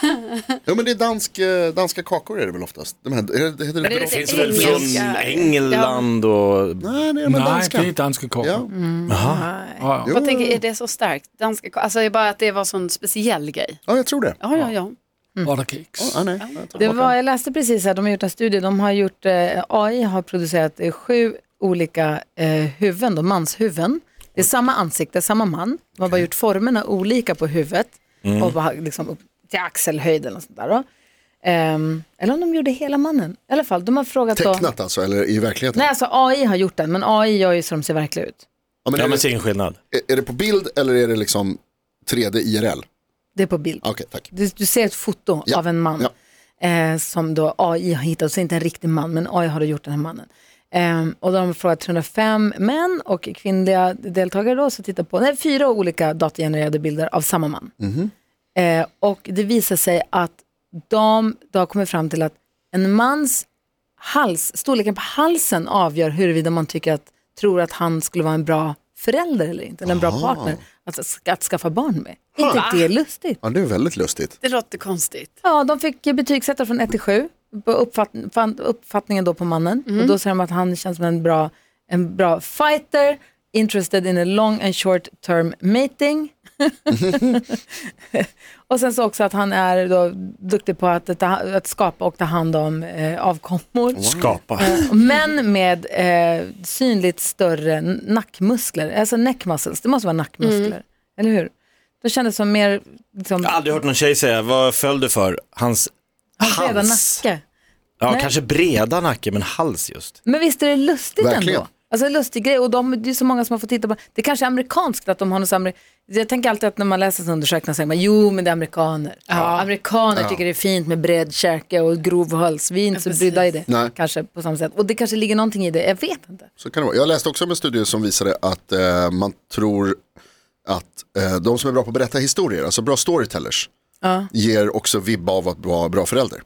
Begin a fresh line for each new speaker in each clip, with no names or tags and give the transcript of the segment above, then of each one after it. Jo men det är dansk, eh, danska kakor är det väl oftast. De här, är det, heter det,
det
brott?
finns-
finns väl från
Engelska.
England och...
Nej, det är väl
Nej,
danska.
det er danske kokker.
Ja.
Ja. Ja, ja.
Jo,
Jag tänker, är det så starkt? Danska, alltså det är bara att det var en sån speciell grej.
ja, jag tror det.
Ja, ja, ja.
Og der kiks.
Ja, nej, jag
Det
tar tillbaka.
var, jag läste precis här, de har gjort en studie, de har gjort, eh, AI har producerat eh, sju olika eh, huvuden, då, manshuvuden. Det är samma ansikte, samma man. De har bara gjort formerna olika på huvudet
Mm.
och bara, liksom upp till axelhöjd eller något sånt där. Då. Ehm, eller om de gjorde hela mannen. I alla fall, de har frågat då.
Tecknat alltså, eller i verkligheten?
Nej, alltså AI har gjort den, men AI gör ju så de ser verkliga ut.
Ja, men
Ja,
är,
men
det,
se en skillnad.
är- är det på bild eller är det liksom 3D IRL? Okej,
Det är på bild.
tack.
Du, du ser ett foto
Ja,
av en man eh, som då AI har hittat, så inte en riktig man, men AI har då gjort den här mannen. Eh, och då har de frågat 305 män och kvinnliga deltagare då, så tittar på nej, fyra olika datagenererade bilder av samma man.
Mhm.
Eh, och det visar sig att de då har kommit fram till att en mans hals, storleken på halsen avgör huruvida man tycker att, tror att han skulle vara en bra förälder eller inte, eller en bra partner att, sk- att skaffa barn med. Inte det är lustigt.
Ja, det är väldigt lustigt.
Det låter konstigt.
Ja, de fick betygsätta från 1 till 7 på uppfatt, fan- uppfattningen då på mannen. Och då säger de att han känns som en bra, en bra fighter, interested in a long and short term mating. och sen så också att han är då duktig på att, ta, att skapa och ta hand om eh, avkommor. Eh,
Skapa.
Män med eh, synligt större n- nackmuskler, alltså neck muscles, det måste vara nackmuskler, eller hur? Då kändes det som mer, liksom,
Jag har aldrig hört någon tjej säga, vad föll du för? Hans,
breda
hals.
nacke.
Ja,
Nej.
kanske breda nacke, men hals just.
Men visst är det lustigt
Verkligen.
ändå? Alltså en lustig grej och de, det är så många som har fått titta på det. kanske är amerikanskt att de har något så amer- Jag tänker alltid att när man läser sådana undersökningar säger man jo men det är amerikaner. Amerikaner tycker det är fint med bred käke och grov hals. Vi är inte så brydda i det
Nej.
kanske på samma sätt. Och det kanske ligger någonting i det, jag vet inte.
Så kan det vara. Jag läste också om en studie som visade att eh, man tror att eh, de som är bra på att berätta historier, alltså bra storytellers, ger också vibb av att vara bra förälder.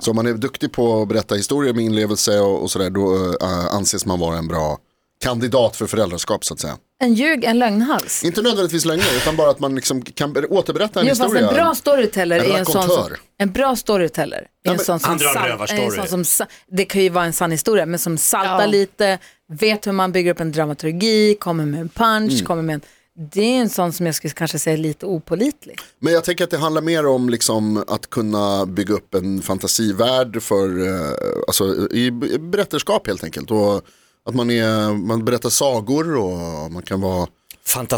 Så om man är duktig på att berätta historier med inlevelse och, och sådär, då eh, anses man vara en bra kandidat för föräldraskap så att säga.
En ljug, en lögnhals.
Inte nödvändigtvis lögner, utan bara att man liksom kan ber- återberätta en
Jo, fast
historia.
en bra storyteller
En
är en sån som,
rakontör.
en bra storyteller är en sån som,
han drar en
sal-
rövarstory.
är en sån som sa- det kan ju vara en sann historia, men som saltar
Ja.
Mm.
lite, vet hur man bygger upp en dramaturgi, kommer med en punch, kommer med en det är en sån som jag skulle kanske säga är lite opolitlig.
Men jag tänker att det handlar mer om liksom att kunna bygga upp en fantasivärld för, eh, alltså, i b- berättarskap helt enkelt. Och att man, är, man berättar sagor och man kan vara,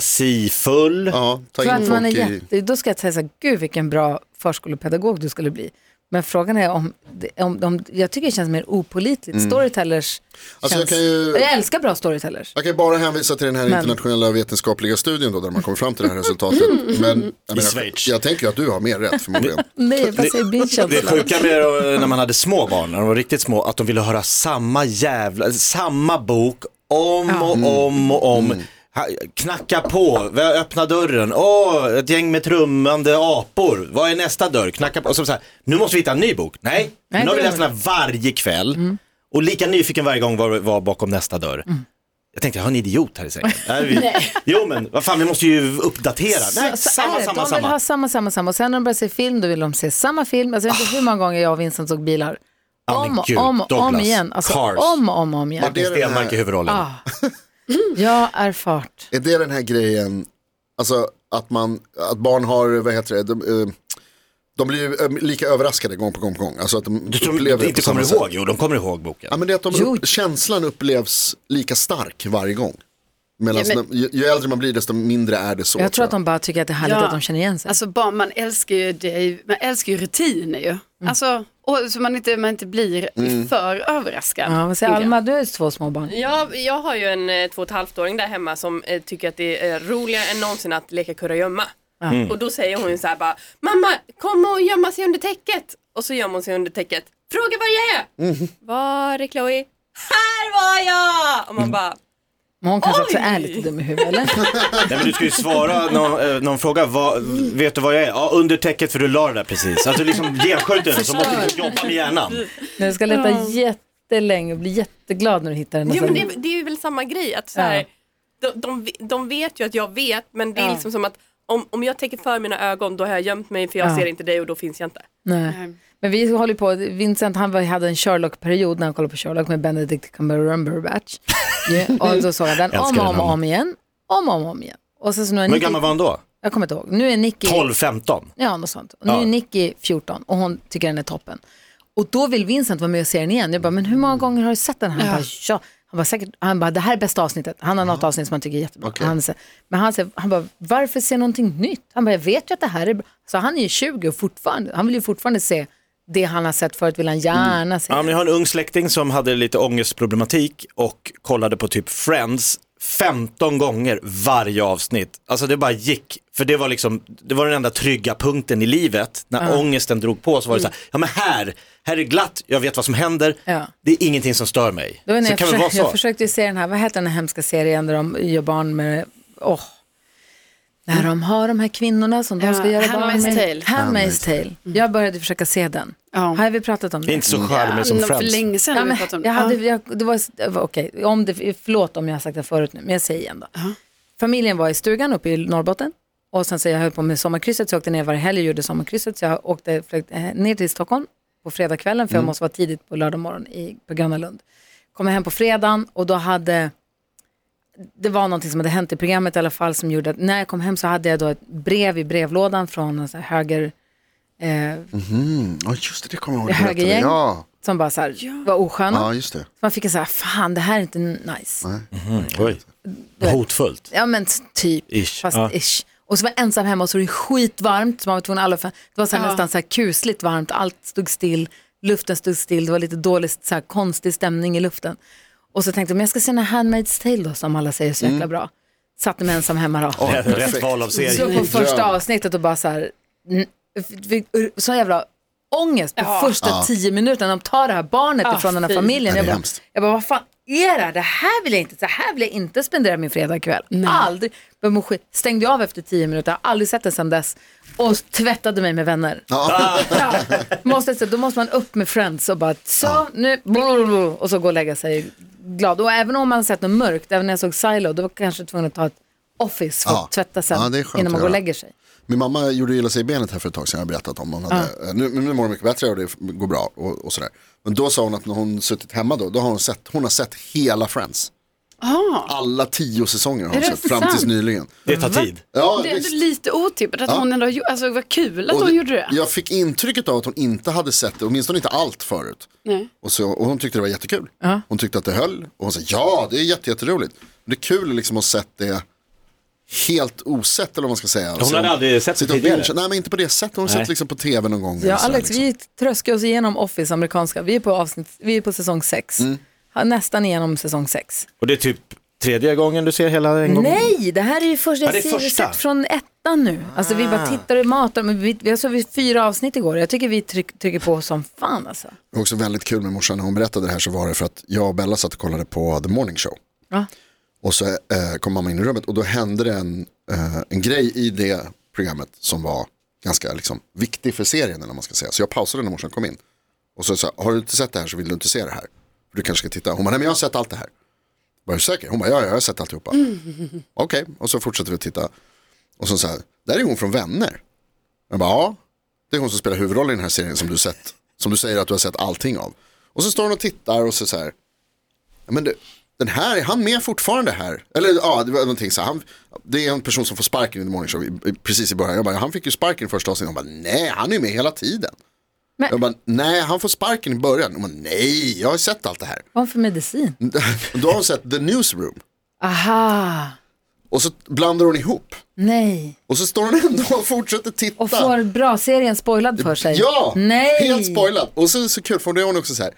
Fantasifull.
ja, ta
För
in
att
folk
man är
i...
jätte, då ska jag säga så här, gud vilken bra förskolepedagog du skulle bli. Men frågan är om, det- om, om jag tycker det känns mer opolitligt. Storytellers
Mm. Alltså, jag
känns,
kan ju-
jag älskar bra storytellers.
Jag kan ju bara hänvisa till den här
Men-
internationella vetenskapliga studien då, där man kommer fram till det här resultatet. Men, jag, menar,
Schweiz.
jag tänker att du har mer rätt förmodligen.
Nej, jag bara säger min
Det
känsla.
sjuka med det, när man hade små barn, när de var riktigt små, att de ville höra samma jävla, samma bok om och om och om. Ha- Knacka på, vä- öppna dörren, åh, ett gäng med trummande apor, vad är nästa dörr, knacka på. Och så, så här, nu måste vi hitta en ny bok, nej,
Nej,
nu har vi
det
läst den här varje kväll och lika nyfiken varje gång var, var bakom nästa dörr.
Mm.
Jag tänkte, jag har en idiot här i sängen. Nej, vi, jo men, vad fan, vi måste ju uppdatera. Nej,
Så
samma,
är det.
samma,
de vill
samma.
ha samma, samma, samma. Och sen när de börjar se film, då vill de se samma film. Alltså, jag vet inte hur många gånger jag och Vincent såg bilar.
Ah. Ja, men
Om och
gud,
om och om
Douglas,
igen. Alltså,
Cars.
om och om och om igen.
det är den här-
Stenmark i huvudrollen.
Jag är fart.
Är det den här grejen, alltså att, man, att barn har, vad heter det, de, eh, de blir ju, eh, lika överraskade gång på gång på gång. Alltså att de
Du tror
upplever
de
det
inte
på samma
kommer
sätt.
ihåg? Jo, de kommer ihåg boken.
Ja, men det är att de
Jo.
upp, känslan upplevs lika stark varje gång. Medan
Ja, men-
när- ju, ju äldre man blir desto mindre är det så.
Jag tror att de bara tycker att det är härligt
Ja.
att de känner igen sig.
Alltså barn, man älskar ju, det, är ju- man älskar ju rutiner
Mm.
ju. Alltså, och, så man inte, man inte blir för överraskad.
ja, vad säger
tänker jag.
Alma? Du har ju två små barn.
Ja, jag har ju en eh, två och ett halvt-åring där hemma som eh, tycker att det är roligare än någonsin att leka kurragömma. Och då säger hon ju så här bara, mamma kom och gömma sig under täcket. Och så gömmer hon sig under täcket. Fråga var jag är. Var är Chloe? Här var jag! Och man bara,
Men hon kanske också
Oj!
är lite dum i huvudet, eller?
Nej, men du ska ju svara någon, eh, någon fråga, vad, vet du vad jag är? Ja, under täcket för du la det där precis. Alltså liksom genskjut den så måste du jobba med hjärnan.
Du ska leta jättelänge och bli jätteglad när du hittar den.
jo men det,
Alltså,
är- det är ju väl samma grej att så här, de, de, de vet ju att jag vet men det är
Ja.
liksom som att om, om jag täcker för mina ögon då har jag gömt mig för jag
Ja.
ser inte dig och då finns jag inte.
Nej. Men vi håller på, Vincent han var, hade en Sherlock-period när han kollade på Sherlock med Benedict Cumberbatch. Ja, och då såg jag den om
Älskar
och
den
om och
mannen.
om igen. Om och om, och om igen. Och sen så nu är
Men hur
Nicky,
gammal var han då?
jag kommer inte ihåg, nu är Nicky
12, 15?
Ja, något sånt. Och nu
Ja.
är Nicky 14 och hon tycker den är toppen. Och då vill Vincent vara med och se den igen. Jag bara, men hur många gånger har du sett den? Han bara, ja. Han bara, säkert, han bara, det här är bästa avsnittet. Han har något avsnitt som han tycker är jättebra. Han, säger- men han säger, han bara, varför se någonting nytt? Han bara, jag vet ju att det här är bra. Så han är ju 20 och fortfarande, han vill ju fortfarande se det han har sett förut, vill han gärna se.
Ja, men jag har en ung släkting som hade lite ångestproblematik och kollade på typ Friends 15 gånger varje avsnitt. Alltså det bara gick, för det var liksom, det var den enda trygga punkten i livet. När ångesten drog på så var det så här, ja men här, här är glatt, jag vet vad som händer,
Mm. Ja.
det är ingenting som stör mig.
Det var när
så
jag,
kan det vara
försökte,
så.
jag försökte ju se den här, vad heter den här hemska serien där de gör barn med, åh. När de har de här kvinnorna som de
Ja,
ska göra barn
Handmaid's
med.
Tale.
Handmaid's Tale. Jag började försöka se den.
Ja.
Har vi pratat om
Det är
det?
inte så charmig som
Nå, för
Friends.
länge sedan
Ja,
har vi
men,
pratat om det.
jag hade,
Ja.
jag, det var, det var okej, om det, förlåt om jag har sagt det förut nu, men jag säger igen då. Familjen var i stugan uppe i Norrbotten och sen så jag höll på med sommarkrysset så jag åkte ner varje helg och gjorde sommarkrysset så jag åkte flög, eh, ner till Stockholm på fredagskvällen för
Mm.
jag måste vara tidigt på lördag morgon i, på Gröna Lund. Kom hem på fredagen och då hade det var någonting som hade hänt i programmet i alla fall som gjorde att när jag kom hem så hade jag då ett brev i brevlådan från en så här höger eh,
Ja just det, det kommer jag ihåg.
Det
du berättade.
högergäng.
Ja.
som bara så här, var osköna.
ja, just det.
Så man fick en så här, fan det här är inte nice.
Oj. Hotfullt.
Ja men typ,
Ish.
fast
Ja.
ish. Och så var jag ensam hemma och så var det skitvarmt. Så man var tvungen att alla fan, det var så här nästan så här kusligt varmt, allt stod still, luften stod still, det var lite dålig, så här, konstig stämning i luften. Och så tänkte jag, men jag ska se den här Handmaid's Tale då, som alla säger är så
Mm.
jäkla bra. Satte mig ensam hemma då.
Rätt, rätt val av
Så
serie.
på första
Dröm.
avsnittet och bara så här, n- vi- vi- så jävla ångest på första tio minuterna. De tar det här barnet ifrån den här
fy.
familjen.
Ja,
Jag
det är
bara,
hemskt.
jag bara, vad fan är det här? Det här vill jag inte, så här vill jag inte spendera min fredagkväll. Aldrig. Jag mår skit. Stängde jag av efter tio minuter, jag har aldrig sett det sedan dess. Och tvättade mig med vänner.
Ah,
måste, så- då måste man upp med friends och bara så, nu, och så gå och lägga sig glad. Och även om man har sett något mörkt, även när jag såg Silo, då var jag kanske tvungen att ta ett office för
Ja.
att tvätta sen
Ja, det är skönt
innan man
att
går och
göra.
lägger sig.
Min mamma gjorde illa sig i benet här för ett tag sedan, jag har berättat om. Hon hade, eh, nu, nu mår hon mycket bättre och det går bra och, och sådär. Men då sa hon att när hon suttit hemma då, då har hon sett, hon har sett hela Friends.
Ah.
Alla tio säsonger har
Är
hon
det
sett fram
sant?
tills nyligen.
Det tar tid.
Ja,
Det är ändå
visst.
lite otippat att
Ja.
hon ändå har gjort, alltså vad kul att
Och
hon
det-
gjorde det.
Jag fick intrycket av att hon inte hade sett det, åtminstone inte allt förut.
Nej.
Och, så, och hon tyckte det var jättekul. Hon tyckte att det höll och hon sa ja, det är jätte- jätteroligt. Det är kul liksom att ha sett det helt osett eller vad man ska säga. Hon
hade aldrig sett det tidigare.
Nej men inte på det sättet, hon har sett
Nej.
liksom på tv någon gång.
Ja,
eller så här,
Alex,
liksom.
vi tröskar oss igenom Office amerikanska. Vi är på, avsnitt, vi är på säsong 6.
Mm.
Nästan igenom säsong 6.
Och det är typ tredje gången du ser hela en gång.
Nej, det här är ju första,
Ja, det är
jag ser
första.
sett från ettan nu. Alltså vi
Ah.
bara tittar och matar. Men vi, vi såg vi fyra avsnitt igår. Jag tycker vi tryck, trycker på som fan alltså.
Det var också väldigt kul med morsan när hon berättade det här så var det för att jag och Bella satt och kollade på The Morning Show.
Ja.
Och så eh, kom mamma in i rummet och då hände det en, eh, en grej i det programmet som var ganska liksom, viktig för serien. Eller vad man ska säga. Så jag pausade när morsan kom in. Och så sa jag, har du inte sett det här så vill du inte se det här. För du kanske ska titta. Hon bara, nej men jag har sett allt det här. Var du säker? Hon bara, ja, ja jag har sett alltihopa. Okej, och så fortsätter vi att titta. Och så sa jag, där är hon från Vänner. Jag bara, ja, det är hon som spelar huvudrollen i den här serien som du, sett, som du säger att du har sett allting av. Och så står hon och tittar och så så här, "Ja, men det, den här, är han med fortfarande här? Eller ja, det var någonting så här, han, det är en person som får sparken i The Morning Show i- i- precis i början. Jag bara, han fick ju sparken i första avsnittet. Hon bara, nej, han är ju med hela tiden.
Men-
Jag bara, nej, han får sparken i början. Hon bara, nej, jag har ju sett allt det här.
Vad för medicin?
Mm. Då har hon sett The Newsroom.
Aha,
Och så blandar hon ihop.
nej.
Och så står hon ändå och fortsätter titta.
Och får bra serien spoilad för sig.
Ja,
nej.
helt spoilad. Och så så kul, för det är hon också så här.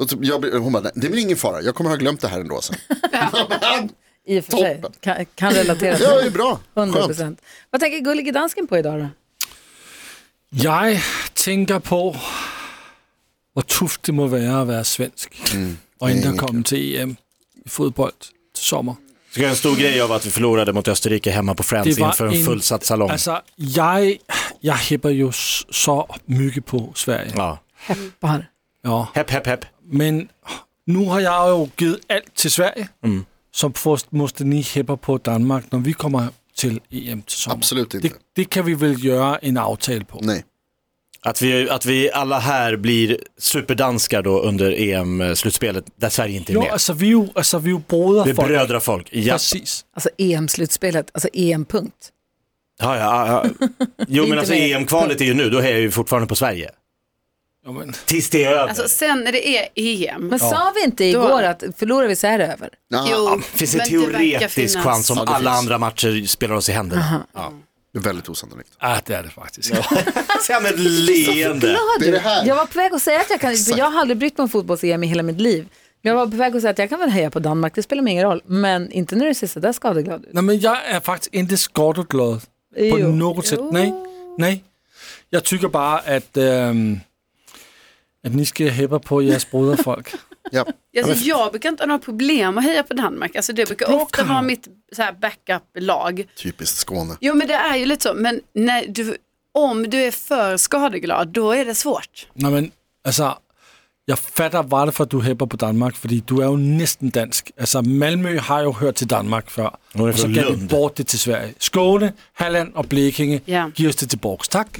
Och typ, jag, blir- hon bara, "Nej, det blir ingen fara, jag kommer ha glömt det här ändå sen.
I och för sig,
Toppen.
kan, kan relatera
Ja, det är
till
bra.
100
Skönt.
procent. Vad tänker gullige dansken på idag då?
Jeg tænker på, hvor tufft det må være at være svensk og endda komme til EM i fodbold til sommer.
Så göra en stor grej av att vi förlorade mot Österrike hemma på Friends
Det var Alltså-
inför en
en-
fullsatt salong.
Altså, jeg, jeg hæpper jo s- så mygge på Sverige.
Ja.
Bara.
Ja.
Hepp, hepp, hepp.
Men nu har jeg jo givet alt til Sverige, som først måste ni hæpper på Danmark, når vi kommer til EM til sommer.
Absolut inte.
Det, det kan vi vel gøre en aftale på.
Nej,
Att vi, att vi alla här blir superdanskar då under EM-slutspelet där Sverige inte är
Jo,
med.
altså vi er jo, altså, vi er jo
Det är
broderfolk.
brödra folk. Ja,
Præcis.
Alltså EM-slutspelet, alltså EM-punkt.
ja, ja, ja. Jo, men
Inte
alltså
med.
EM-kvalet är ju nu, då hejar vi fortfarande på Sverige.
Jo, men,
Tills det är över.
Alltså sen när det är E EM.
Men sa vi inte igår att förlorar vi så är det över?
nah,
Jo,
finns en
men det verkar
teoretisk
finnas. Alltså,
chans om
Ja, det
alla
finns.
andra matcher spelar oss i händerna. Ja.
det är väldigt osannolikt.
ah, det er det faktisk.
Ser med leende.
Det är det här.
Jag var på väg att säga att jag kan, för jag har aldrig brytt mig om fotbolls-EM i hela mitt liv. Men jag var på väg att säga att jag kan väl heja på Danmark, det spelar mig ingen roll. Men inte när du ser sådär skadeglad ut.
Nå, men jeg er faktisk ikke skotteglad på
Jo.
noget sæt. Nej, nej. Jeg tykker bare, at, øhm, at ni skal hæppe på jeres broderfolk.
Ja.
Alltså, jag brukar inte ha några problem att heja på Danmark. Alltså, det brukar
Bra,
ofta
Karo.
vara mitt så här, backup-lag.
Typiskt Skåne.
Jo men det är ju lite så, men när du, om du är för skadeglad då är det svårt.
Nå, men altså, jeg fatter bare for, at du hæpper på Danmark, fordi du er jo næsten dansk. Altså, Malmø har jo hørt til Danmark før,
Nu er det
og så
fra
gav
Lund.
vi bort det til Sverige. Skåne, Halland og Blekinge,
Ja.
giv os det til Borgs. Tak.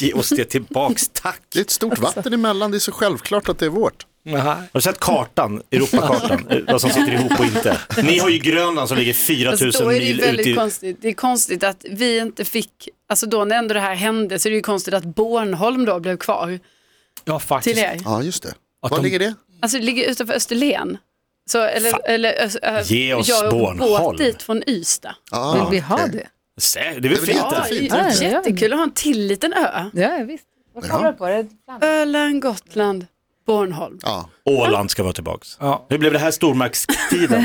Ge oss det tillbaks, tack.
Det är ett stort
Alltså.
vatten emellan, det är så självklart att det är vårt.
Nej.
Har du sett kartan, Europakartan, eh, vad som sitter ihop och inte? Ni har ju Grönland som ligger
Alltså,
4000
då är det ju
mil ut
väldigt
i...
konstigt. Det är konstigt att vi inte fick, altså då när ändå det här hände så är det ju konstigt att Bornholm då blev kvar
Jo, faktisk.
till er.
Ja, just det.
Att
Var
de-
ligger det?
Alltså det ligger utanför Österlen. Så, eller, eller, Ös- ö-
Ge oss
jag
Bornholm.
båt dit från Ystad.
Ah,
Vill vi ha
okej.
det?
Sä- Det är väl
Det är
fint?
väl
där?
jättefint.
Ja,
Ja, ja.
jättekul att ha en till liten ö.
Ja, visst. Vad
Ja.
kommer du på det?
Öland, Gotland, Bornholm.
Ja.
Åland ska vara tillbaks.
Ja.
Hur blev det här stormaktstiden?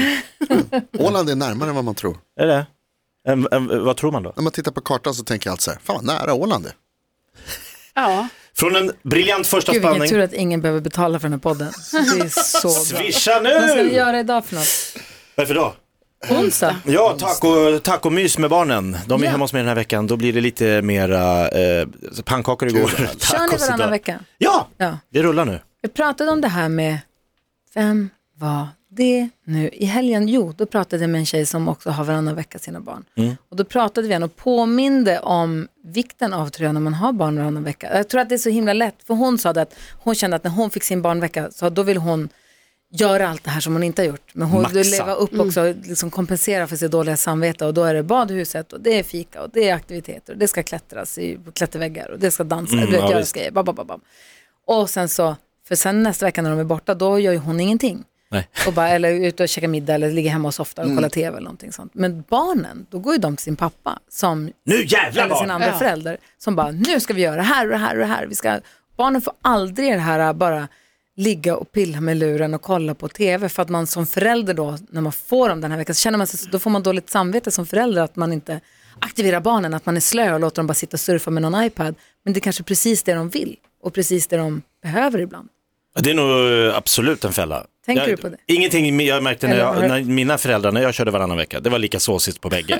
Åland är närmare än vad man tror.
är det? En, en, vad tror man då?
När man tittar på kartan så tänker jag alltid så här, fan vad nära Åland är.
Ja,
Från en briljant första
Gud, vilken
spaning.
tur att ingen behöver betala för den här podden. Det är så bra.
Swisha
Vad ska vi
nu!
göra idag för något?
Varför då?
Onsdag?
Ja, taco, tacomys med barnen. De är hemma hos mig den här veckan. Då blir det lite mera eh, pannkakor igår.
Kör ni
Tacos
varannan
idag.
vecka?
Ja,
Ja.
det rullar nu.
Vi pratade om det här med, vem var det nu i helgen? Jo, då pratade jag med en tjej som också har varannan vecka sina barn.
Mm.
Och då pratade vi igen och påminde om vikten av tror jag, när man har barn varannan vecka. Jag tror att det är så himla lätt, för hon sa det att hon kände att när hon fick sin barnvecka, så då vill hon göra allt det här som hon inte har gjort. Men hon vill
Maxa.
leva upp också, liksom kompensera för sitt dåliga samvete och då är det badhuset och det är fika och det är aktiviteter och det ska klättras i på klätterväggar och det ska dansa, du vet,
Mm, ja,
göra
visst.
grejer, bam, bam, bam, bam. Och sen så, för sen nästa vecka när de är borta, då gör ju hon ingenting.
Nej.
Och bara, eller är ute och käkar middag eller ligger hemma och softar och kollar tv eller någonting sånt. Men barnen, då går ju de till sin pappa som
Nu jävlar
eller sin
barn!
andra förälder som bara, nu ska vi göra det här och det här och det här. Vi ska, barnen får aldrig det här äh, bara ligga och pilla med luren och kolla på tv för att man som förälder då, när man får dem den här veckan, så känner man sig, då får man dåligt samvete som förälder att man inte aktiverar barnen, att man är slö och låter dem bara sitta och surfa med någon iPad. Men det är kanske precis det de vill och precis det de behöver ibland.
Det är nog eh, absolut en fälla.
Tänker
jag,
du på det?
Ingenting jag märkte när,
Eller har du-
jag, när mina föräldrar, när jag körde varannan vecka, det var lika såsigt på bägge.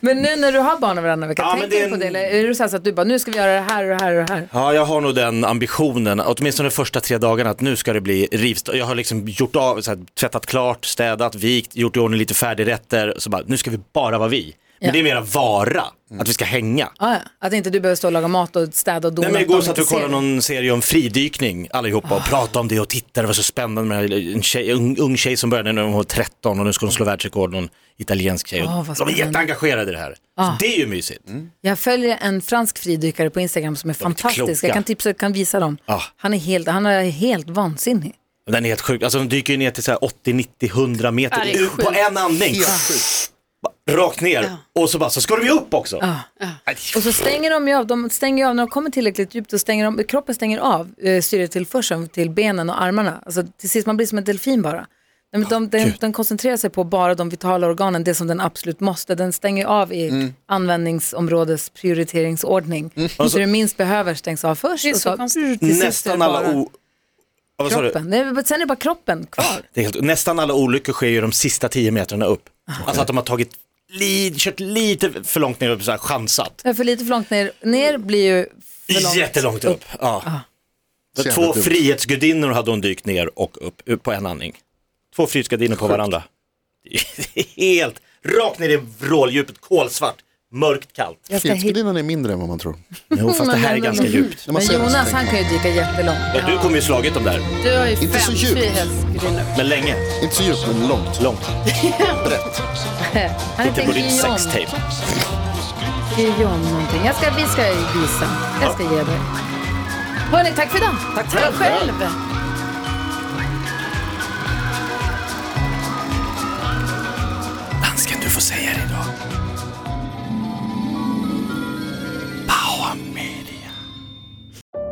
Men nu när du har barnen varannan vecka,
Ja, men
tänker
det är
du på
en-
det? Eller är det så, här så att du bara, nu ska vi göra det här och det här och det här?
Ja, jag har nog den ambitionen, åtminstone de första tre dagarna, att nu ska det bli rivstart. Jag har liksom gjort av, så här, tvättat klart, städat, vikt, gjort i ordning lite färdigrätter. Så bara, nu ska vi bara vara vi. Men
Ja.
det är mera vara, att vi ska hänga.
Ah, ja. Att inte du behöver stå och laga mat och städa och dona.
Nej, men
att de
igår satt
inte
vi och kollade
ser.
någon serie om fridykning allihopa
Ah.
och pratade om det och tittade, det var så spännande med en, tjej, en ung tjej som började när hon var 13 och nu ska hon slå världsrekord, någon italiensk tjej.
Åh, Ah, vad
de är
spännande. Ah. Mm.
jätteengagerade i det här. Så det är ju mysigt.
Jag följer en fransk fridykare på Instagram som är fantastisk.
kloka.
Jag kan tipsa, kan visa dem.
Ja.
Han är helt, han är helt vansinnig.
Den är helt sjuk, alltså de dyker ju ner till så här 80, 90, 100 meter
Ja, det är
ut på
sjukt.
en andning.
Ah,
Rakt ner och så bara, så ska de ju upp också. Nej,
Och så stänger de ju av, de stänger ju av när de kommer tillräckligt djupt, så stänger de, kroppen stänger av eh, syretillförseln till benen och armarna. Alltså till sist man blir som en delfin bara. Nej, men de, den, den koncentrerar sig på bara de vitala organen, det som den absolut måste. Den stänger av i
Mm.
användningsområdes prioriteringsordning. Så det du minst behöver stängs av först.
Det är
och
så
så,
konstigt.
till sist
Alltså-
är
Nästan
det
alla
bara
o... alltså- Ja, vad sa du?
kroppen. Nej, men Sen är det bara kroppen kvar.
Det är helt, nästan alla olyckor sker ju de sista 10 metrarna upp.
Ah.
Alltså att de har tagit, li, kört lite för långt ner och så här chansat.
Ja, för lite för långt ner, ner blir ju för långt. Ah.
Jättelångt upp. Ja. Så
Jävligt
Två
dumt.
frihetsgudinnor hade hon dykt ner och upp upp på en andning. Två frihetsgudinnor på varandra. Det är Helt rakt ner i vråldjupet, kolsvart, mörkt kallt.
Jag ska hitta-
Frihetsgudinnan är mindre än vad man tror.
Jo, fast det här är ganska djupt.
När man
Men
ser den så
Jonas
tänker
han
man,
kan ju dyka jättelångt.
Ja, du kommer ju slagit dem där,
Du har ju
Inte så
fem
djupt.
frihetsgudinnor.
men länge,
Inte så djupt men långt.
långt.
Han
Inte
heter
på ditt
Guillaume,
sextape.
Guillaume någonting. Jag ska, vi ska visa. Jag ska ge dig. Hörni, tack för idag. Tack själv.
Dansken, du får säga det idag. Power media.